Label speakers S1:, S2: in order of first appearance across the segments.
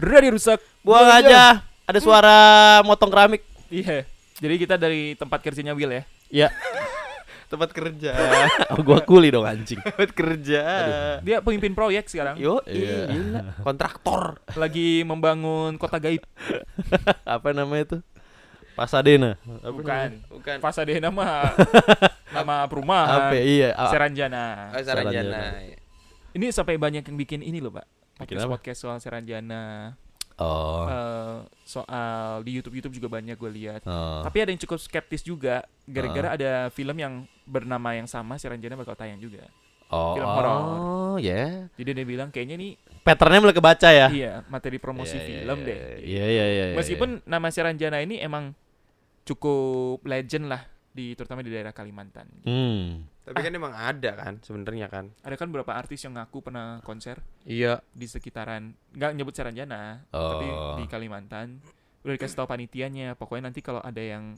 S1: Ready rusak.
S2: Buang aja. Ada suara motong keramik.
S1: Iya. Jadi kita dari tempat kerjanya Will ya.
S2: Ya. Tempat kerja. oh, gua kuli dong anjing. Tempat kerja.
S1: Dia pemimpin proyek sekarang.
S2: Yo,
S3: Iya.
S2: gila. Kontraktor.
S1: Lagi membangun kota gaib.
S2: Apa namanya itu? Pasadena. Apa namanya?
S1: Bukan.
S3: Bukan.
S1: Pasadena mah nama
S2: Apa?
S1: perumahan.
S2: Iya. a-
S1: Seranjana.
S3: Oh, Saranjana.
S2: Saranjana.
S1: Ini sampai banyak yang bikin ini loh, Pak. Podcast
S2: Bikin apa?
S1: podcast soal Seranjana.
S2: Oh.
S1: Eh, soal di YouTube-YouTube juga banyak gue lihat.
S2: Oh.
S1: Tapi ada yang cukup skeptis juga gara-gara ada film yang bernama yang sama Seranjana bakal tayang juga.
S2: Oh,
S1: film horor.
S2: oh, ya.
S1: Jadi dia bilang kayaknya nih
S2: Patternnya mulai kebaca ya.
S1: iya materi promosi
S2: Iya, iya,
S1: film
S2: iya,
S1: deh.
S2: Iya, iya, iya. iya,
S1: Meskipun nama Seranjana ini emang cukup legend lah di terutama di daerah Kalimantan.
S2: iya. Hmm.
S3: Tapi kan emang ada kan sebenarnya kan.
S1: Ada kan beberapa artis yang ngaku pernah konser
S3: Iya.
S1: di sekitaran nggak nyebut Seranjana, tapi
S2: Oh.
S1: di Kalimantan. Udah dikasih tahu panitianya, pokoknya nanti kalau ada yang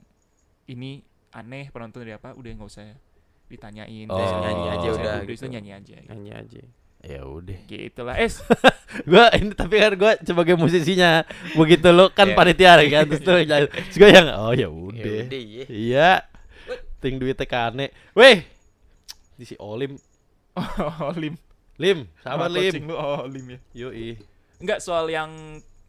S1: ini aneh penonton dari apa udah nggak usah ditanyain,
S2: Oh.
S1: terus
S2: Nyanyi aja
S1: terus
S3: udah
S1: terus
S3: gitu.
S1: nyanyi aja. Gitu.
S3: Nyanyi aja.
S2: Ya udah.
S1: Gitulah. Eh,
S2: Gua ini tapi kan gua sebagai musisinya begitu lo kan
S3: Iya.
S2: panitia kan terus tuh jalan. Terus gua yang oh ya
S3: Ya
S2: udah.
S3: udah, iya.
S2: Iya. Ting duitnya kane. Weh. Di si Olim.
S1: Lim.
S2: Lim, sabar
S1: Sama coaching
S2: Lim.
S1: Oh, lu, Oh, Lim ya.
S2: Yoi.
S1: Enggak soal yang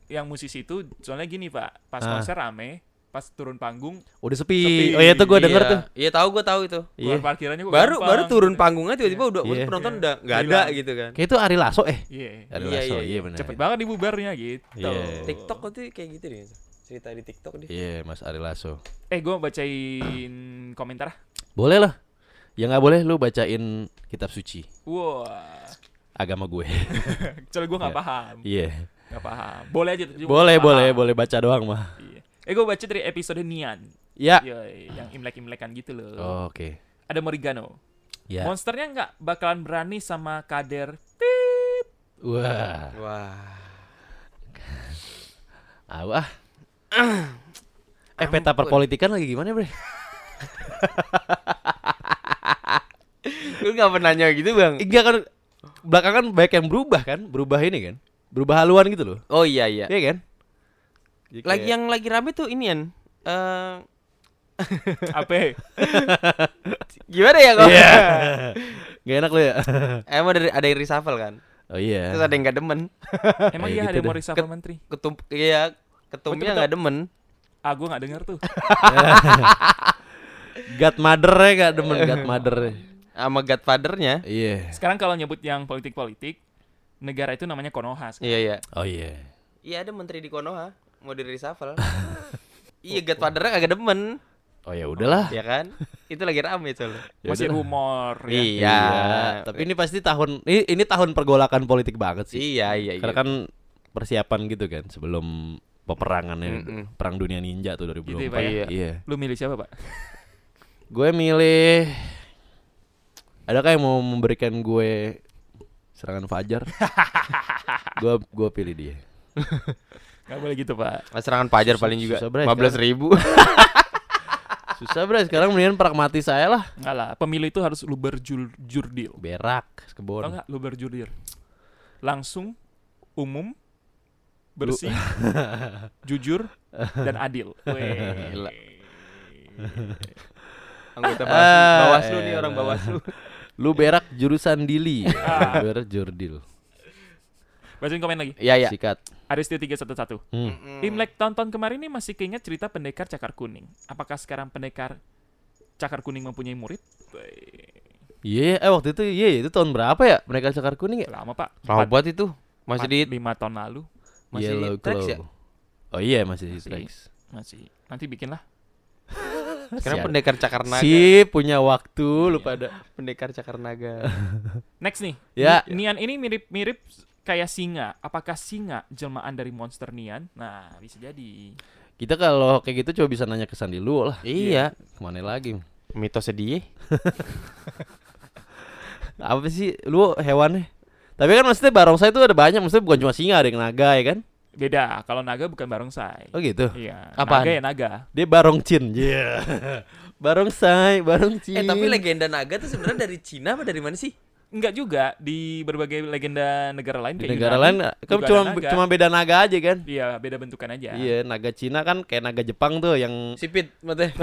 S1: yang musisi itu soalnya gini Pak, pas
S2: Ah.
S1: konser rame, pas turun panggung
S2: Udah
S1: Sepi.
S2: sepi. Oh iya tuh gua denger
S3: Iya.
S2: tuh.
S3: Iya tahu gue tahu itu.
S1: keluar
S2: Iya.
S1: parkirannya kok
S3: Baru
S1: gampang.
S3: baru turun panggungnya tiba-tiba udah
S2: Iya.
S3: penonton
S1: Iya.
S3: udah nggak ada
S1: Hilang.
S3: gitu kan.
S2: Kayak itu Ari Lasso eh.
S1: Iya.
S2: Ari
S3: Iya,
S2: Lasso,
S3: iya,
S2: iya
S3: iya.
S2: benar.
S1: Cepet banget dibubarnya gitu.
S2: Iya.
S3: TikTok itu kayak gitu deh. Cerita di TikTok deh.
S2: Iya, Mas Ari Lasso.
S1: Eh, gua bacain komentar. ah.
S2: Boleh lah. Ya nggak boleh lu bacain kitab suci
S1: Wah.
S2: agama gue.
S1: Soalnya gua nggak
S2: Iya.
S1: paham.
S2: Iya.
S1: Nggak paham. Boleh aja tapi gua
S3: ah.
S2: Boleh,
S1: nggak
S2: boleh,
S1: paham.
S2: boleh baca doang mah.
S1: Iya. Eh, gua baca dari episode Nian.
S2: Ya.
S3: Iya,
S1: Yoi, yang imlek-imlekan gitu loh.
S2: Oh, Oke.
S1: Ada Morigano.
S2: Ya.
S1: Monsternya nggak bakalan berani sama kader
S2: Wah.
S3: Wah.
S2: Au ah. Eh peta perpolitikan lagi gimana bre?
S3: Lu nggak pernah nanya gitu bang?
S2: Enggak kan belakangan banyak yang berubah kan? Berubah ini kan? Berubah haluan gitu loh.
S3: Oh iya iya.
S2: Iya kan? Jadi
S3: Lagi
S2: kayak-
S3: yang lagi rame tuh ini kan. Eh,
S1: apa?
S3: gimana ya kok?
S2: Iya. Gak enak lo ya?
S3: Emang ada ada yang reshuffle kan?
S2: oh iya.
S3: Terus ada yang nggak demen.
S1: Emang
S2: Kayak
S1: iya
S2: gitu
S1: ada
S2: dah.
S1: mau reshuffle menteri?
S3: Ketum iya
S2: Oh,
S3: ketumnya
S1: Betul-betul.
S3: nggak demen.
S1: Ah, gue nggak dengar tuh.
S2: Godmother-nya gak ya, demen Godmother-nya.
S3: Sama godfathernya.
S2: Iya.
S1: Sekarang kalau nyebut yang politik-politik, negara itu namanya Konoha. sekarang.
S3: Iya iya.
S2: Oh iya.
S3: Iya ada menteri di Konoha mau di reshuffle. iya godfathernya agak demen.
S2: Oh ya udahlah.
S3: ya kan? Itu lagi rame soalnya.
S2: Ya
S1: Masih
S2: udah.
S1: rumor ya.
S3: Iya.
S2: Tapi ini pasti tahun ini, ini tahun pergolakan politik banget sih.
S3: Iya iya iya.
S2: Karena kan persiapan gitu kan sebelum peperangannya
S3: Mm-mm.
S2: perang dunia ninja tuh 2004.
S1: Gitu ya, Pak,
S3: ya?
S2: Iya.
S1: Lu milih siapa, Pak?
S2: Gue milih Adakah yang mau memberikan gue serangan fajar? gue gue pilih dia.
S1: Gak boleh gitu, Pak.
S3: Serangan pajar paling juga
S2: susah, Bray,
S3: 15 ribu
S2: Susah bro, sekarang mendingan pragmatis saya lah.
S1: Enggak lah, pemilu itu harus lu berjurdil.
S2: Berak,
S1: Tau
S2: kebon.
S1: nggak lu berjurdil? Langsung, umum, bersih, jujur, dan adil. Weh.
S2: Gila.
S3: Anggota
S2: Ah,
S3: bawah Bawaslu nih
S2: elah.
S3: orang Bawaslu
S2: Lu berak jurusan Dili. berak jurdil.
S1: Bacain komen lagi.
S3: Iya iya
S2: Sikat.
S1: Aristi 311.
S2: Hmm.
S1: Imlek tahun-tahun kemarin ini masih keinget cerita pendekar cakar kuning. Apakah sekarang pendekar cakar kuning mempunyai murid? Weh.
S2: Iya, eh waktu itu iya itu tahun berapa ya? Mereka cakar kuning ya?
S1: Lama, Pak.
S3: Lama banget itu Masih di
S1: 5 tahun lalu.
S3: Masih
S2: Yellow
S3: Trax ya?
S2: Glow. Oh iya masih di
S1: Masih.
S2: Trax.
S1: Masih. Nanti bikinlah.
S3: Sekarang
S2: Si-
S3: pendekar cakar naga
S2: Si punya waktu lu
S3: Iya.
S2: pada.
S3: Pendekar cakar naga
S1: Next nih.
S2: Ya.
S1: Ni- Nian ini mirip-mirip kayak singa. Apakah singa jelmaan dari monster Nian? Nah, bisa jadi.
S2: Kita kalau kayak gitu coba bisa nanya ke Sandi lu lah.
S3: Iya
S2: Kemana lagi?
S3: Mitosnya dia
S2: Apa sih lu hewannya? Tapi kan maksudnya barongsai itu ada banyak, maksudnya bukan cuma singa, ada yang naga ya kan?
S1: Beda. Kalau naga bukan barongsai.
S2: Oh gitu.
S1: Iya.
S2: Apaan?
S1: Naga ya naga.
S2: Dia barongcin. Iya. barongsai, barongsai.
S1: Eh,
S3: Eh tapi legenda naga tuh sebenarnya dari Cina apa dari mana sih?
S1: Enggak juga di berbagai legenda negara lain
S2: Di
S1: kayak
S2: negara
S1: Yunani,
S2: lain kan
S1: juga
S2: cuma
S1: ada naga.
S2: cuma beda naga aja kan.
S1: Iya, beda bentukan aja.
S2: Iya, naga Cina kan kayak naga Jepang tuh yang
S3: Sipit, mate.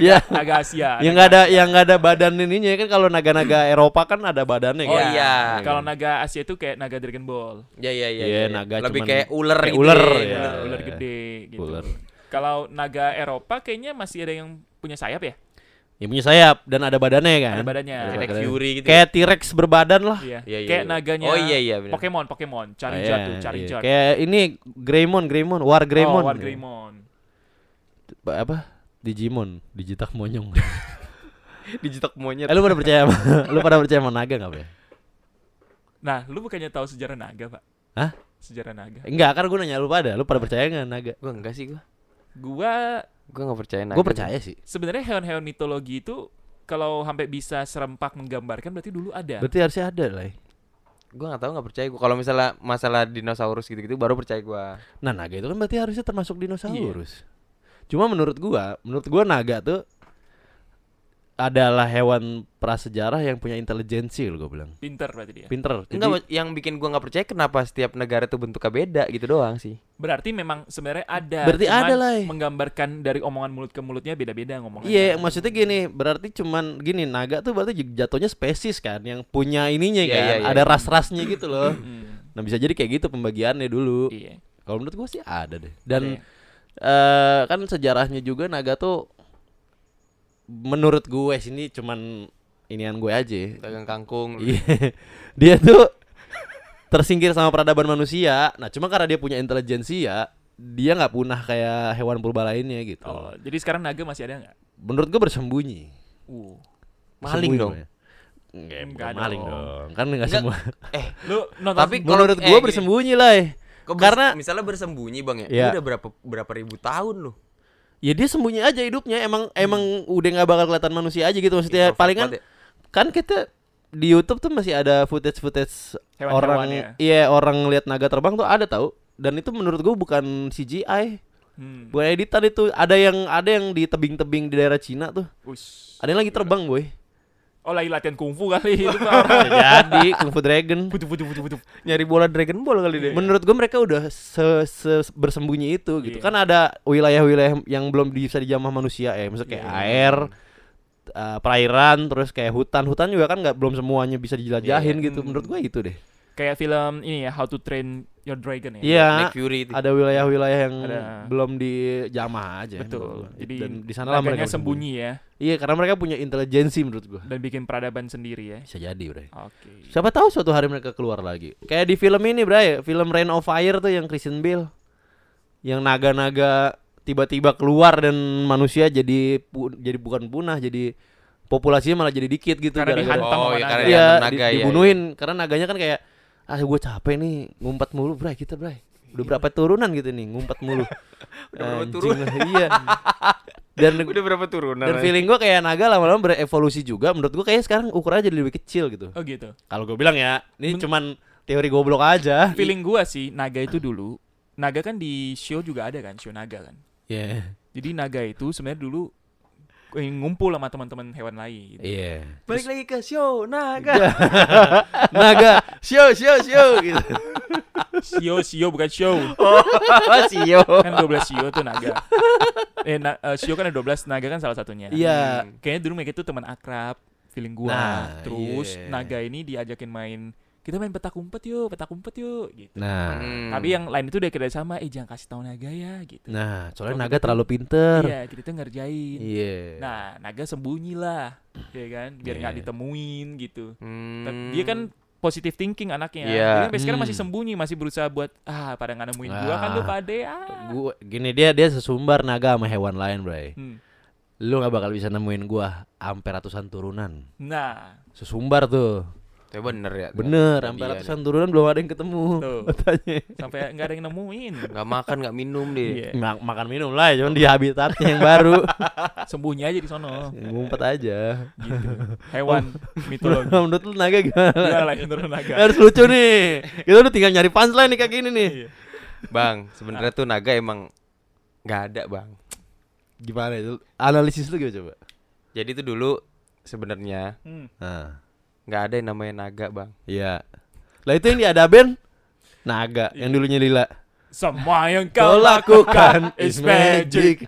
S2: ya
S1: Naga Asia.
S2: yang nggak ada yang nggak ada badan ininya kan kalau naga-naga Eropa kan ada badannya
S3: Oh
S2: kan.
S3: iya.
S1: Kalau naga Asia itu kayak naga Dragon Ball.
S3: Ya ya ya.
S2: Iya,
S3: ya.
S2: naga
S3: Lebih
S2: cuman-
S3: kayak ular
S2: kayak
S3: gitu.
S2: ular,
S3: ya,
S1: Iya,
S2: ya.
S3: ular.
S1: ular gede gitu.
S2: Ular.
S1: Kalau naga Eropa kayaknya masih ada yang punya sayap ya?
S2: Yang punya sayap dan ada badannya kan.
S1: Ada badannya.
S2: Ada
S3: Kayak
S2: badannya.
S3: Fury gitu.
S2: Kayak T-Rex berbadan lah.
S1: Iya.
S3: Iya, iya,
S1: kayak
S3: iya.
S1: naganya
S3: Oh iya iya benar.
S1: Pokemon, Pokemon,
S2: Ah,
S1: Charizard
S2: iya,
S1: tuh,
S2: iya.
S1: Charizard.
S2: Kayak ini Greymon, Greymon, War Greymon. ya.
S1: Oh, War Greymon.
S2: Ba- Apa? Digimon, dijitak monyong.
S3: dijitak monyet.
S2: eh, lu pada percaya sama lu pada percaya sama naga enggak, Be?
S1: Nah, lu bukannya tahu sejarah naga, Pak?
S2: Hah?
S1: Sejarah naga.
S2: Enggak, kan gue nanya lu pada, lu pada percaya enggak naga?
S3: Gua enggak sih gua.
S1: Gua
S3: Gua enggak percaya naga.
S2: Gue percaya sih.
S1: sebenarnya hewan-hewan mitologi itu kalau sampai bisa serempak menggambarkan berarti dulu
S3: Iya.
S1: ada.
S2: Berarti harusnya ada lah. ya.
S3: Gua enggak tahu enggak percaya gua. Kalau misalnya masalah dinosaurus gitu-gitu baru percaya gua.
S2: Nah, naga itu kan berarti harusnya termasuk dinosaurus.
S3: Iya.
S2: Cuma menurut gua, menurut gua naga tuh adalah hewan prasejarah yang punya intelijensi lo gue bilang.
S1: Pinter berarti dia.
S2: Pinter. Jadi,
S3: Iya. Enggak, yang bikin gua nggak percaya kenapa setiap negara tuh bentuknya beda gitu doang sih.
S1: Berarti memang sebenarnya ada.
S2: Berarti
S1: cuman
S2: ada lah, eh.
S1: Menggambarkan dari omongan mulut ke mulutnya beda-beda ngomongannya.
S2: Iya, maksudnya gini, berarti cuman gini naga tuh berarti j- jatuhnya spesies kan yang punya ininya
S3: Iya,
S2: kan,
S3: iya, iya.
S2: ada ras-rasnya gitu loh.
S1: Hmm,
S2: Nah, bisa jadi kayak gitu pembagiannya dulu.
S1: iya.
S2: Kalau menurut gua sih ada deh. Dan
S1: Ada ya?
S2: eh kan sejarahnya juga naga tuh menurut gue sih ini cuman inian gue aja.
S3: Dagang kangkung.
S2: Iya. dia tuh tersingkir sama peradaban manusia. Nah, cuma karena dia punya intelijensi ya, dia nggak punah kayak hewan purba lainnya gitu.
S1: Oh, jadi sekarang naga masih ada nggak?
S2: Menurut gue bersembunyi.
S1: Uh.
S2: Sembunyi
S3: Maling
S2: ya.
S3: dong.
S2: namanya. Nggak, bukan
S1: Nggak
S2: maling
S1: dong.
S2: dong. Kan nggak
S3: Nggak,
S2: semua.
S3: Eh,
S1: Lu nonton
S3: Tapi kalau-
S2: Menurut
S3: eh,
S2: gue
S3: gini.
S2: bersembunyi lah. eh.
S3: kok
S2: Karena-
S3: bers- misalnya bersembunyi bang ya,
S2: Iya.
S3: Ini udah berapa berapa ribu tahun loh.
S2: Ya dia sembunyi aja hidupnya. Emang
S1: Hmm.
S2: emang udah nggak bakal kelihatan manusia aja gitu maksudnya.
S1: Iya,
S3: Introvert
S2: Palingan
S3: banget ya.
S2: kan kita di YouTube tuh masih ada footage footage
S1: Hewan-hewan
S2: orang
S1: ya.
S2: iya orang lihat naga terbang tuh ada tahu dan itu menurut gue bukan CGI
S1: Hmm.
S2: bukan editan itu ada yang ada yang di tebing-tebing di daerah Cina tuh
S1: Ush.
S2: ada yang lagi terbang boy
S1: Oh lagi latihan kungfu kali itu mah orang.
S2: jadi Kung Fu Dragon
S1: Butuh butuh butuh butuh.
S3: Nyari bola Dragon Ball kali deh.
S2: menurut gue mereka udah se, se- bersembunyi itu
S1: Iya.
S2: gitu kan ada wilayah-wilayah yang belum bisa dijamah manusia ya maksudnya kayak
S1: Iya.
S2: air eh, perairan terus kayak hutan hutan juga kan nggak belum semuanya bisa dijelajahin
S1: Iya.
S2: gitu
S3: Hmm.
S2: menurut gue itu deh
S1: Kayak film ini ya How to Train Your Dragon ya.
S2: iya
S3: Nick Fury itu.
S2: ada wilayah-wilayah yang
S1: Ada.
S2: belum dijamah aja
S1: Iya, Betul.
S2: menurut gua.
S1: Jadi
S2: iya, dan di sana lah
S1: naganya
S2: mereka
S1: sembunyi ya
S2: bersembunyi. iya karena mereka punya intelijensi menurut gua
S1: dan bikin peradaban sendiri ya.
S2: bisa jadi bray
S1: Oke.
S2: siapa tahu suatu hari mereka keluar lagi kayak di film ini bray film Rain of Fire tuh yang Kristen Bell yang naga-naga tiba-tiba keluar dan manusia jadi pu- jadi bukan punah jadi populasinya malah jadi dikit gitu
S1: Karena
S2: gara-gara-
S1: dihantam
S3: Oh,
S1: sama
S3: iya,
S1: naga.
S3: karena
S1: Iya.
S2: Iya,
S3: naga,
S2: di-
S3: iya, iya.
S2: dibunuhin karena naganya kan kayak ah gue capek nih ngumpet mulu bray kita bray. Udah berapa turunan gitu nih ngumpet mulu.
S3: Iya. Udah berapa
S2: Anjing
S3: turun?
S2: lah, iya. Dan
S3: Udah berapa turunan?
S2: dan
S3: aja?
S2: feeling gue kayak naga lama-lama berevolusi juga menurut gue kayaknya sekarang ukurannya jadi lebih kecil gitu.
S1: Oh gitu.
S2: Kalau gue bilang ya, ini
S1: Men-
S2: cuman teori goblok
S1: Nah,
S2: aja.
S1: Feeling gua sih naga itu dulu naga kan di show juga ada kan show naga kan.
S2: Iya.
S1: Jadi naga itu sebenarnya dulu eh, ngumpul sama teman-teman hewan lain. gitu.
S2: Iya.
S3: Balik lagi ke show naga.
S2: Naga, show show show gitu.
S1: Sio sio bukan show.
S3: Oh, Sio.
S1: Kan 12 sio tuh naga. Eh na- eh, sio kan ada 12 naga kan salah satunya.
S2: Iya.
S1: Kayaknya dulu mereka itu teman akrab, feeling gua.
S2: Nah,
S1: Terus
S2: iya.
S1: naga ini diajakin main kita main petak umpet yuk, petak umpet yuk gitu.
S2: Nah.
S3: Hmm.
S1: Tapi yang lain itu udah kira sama, eh jangan kasih tahu naga ya gitu.
S2: Nah,
S1: Kalau
S2: soalnya naga
S1: gitu-
S2: terlalu pinter.
S1: Iya, kita tuh ngerjain.
S2: Iya.
S1: Nah, naga sembunyi lah, ya kan, biar nggak
S2: Iya.
S1: ditemuin gitu.
S3: Hmm.
S1: Tapi Dia kan positive thinking anaknya.
S3: Iya.
S1: Dia sampai sekarang masih
S2: Hmm.
S1: sembunyi, masih berusaha buat ah pada nggak nemuin gua kan lu
S2: Ah.
S1: pade ah.
S2: Gua gini dia dia sesumbar naga sama hewan lain, Bray.
S1: Hmm.
S2: Lu nggak bakal bisa nemuin gua ampe ratusan turunan.
S1: Nah,
S2: Sesumbar tuh.
S3: Tapi bener ya.
S2: Bener, ampe
S3: Iya,
S2: ratusan turunan belum ada yang ketemu.
S1: Tuh.
S2: Katanya.
S1: sampai nggak ada yang nemuin.
S3: Gak makan, gak minum deh.
S1: Iya.
S2: Ma- makan minum lah, cuman di habitatnya yang baru.
S1: Iya, Sembunyi aja di sono
S2: Ngumpet aja.
S1: gitu. Hewan mitologi.
S2: Menurut lu naga gimana?
S1: Gila lah yang turun naga.
S2: Harus lucu nih. Kita udah tinggal nyari punchline nih kayak gini nih.
S3: Bang, sebenarnya tuh naga emang gak ada, Bang.
S2: Gimana itu? Analisis lu gimana coba?
S3: Jadi tuh dulu sebenarnya
S1: Hmm.
S2: Nah,
S3: nggak ada yang namanya naga bang
S2: iya. Lah itu yang diadabin naga yang dulunya lila.
S1: Semua yang
S2: Kau lakukan is magic.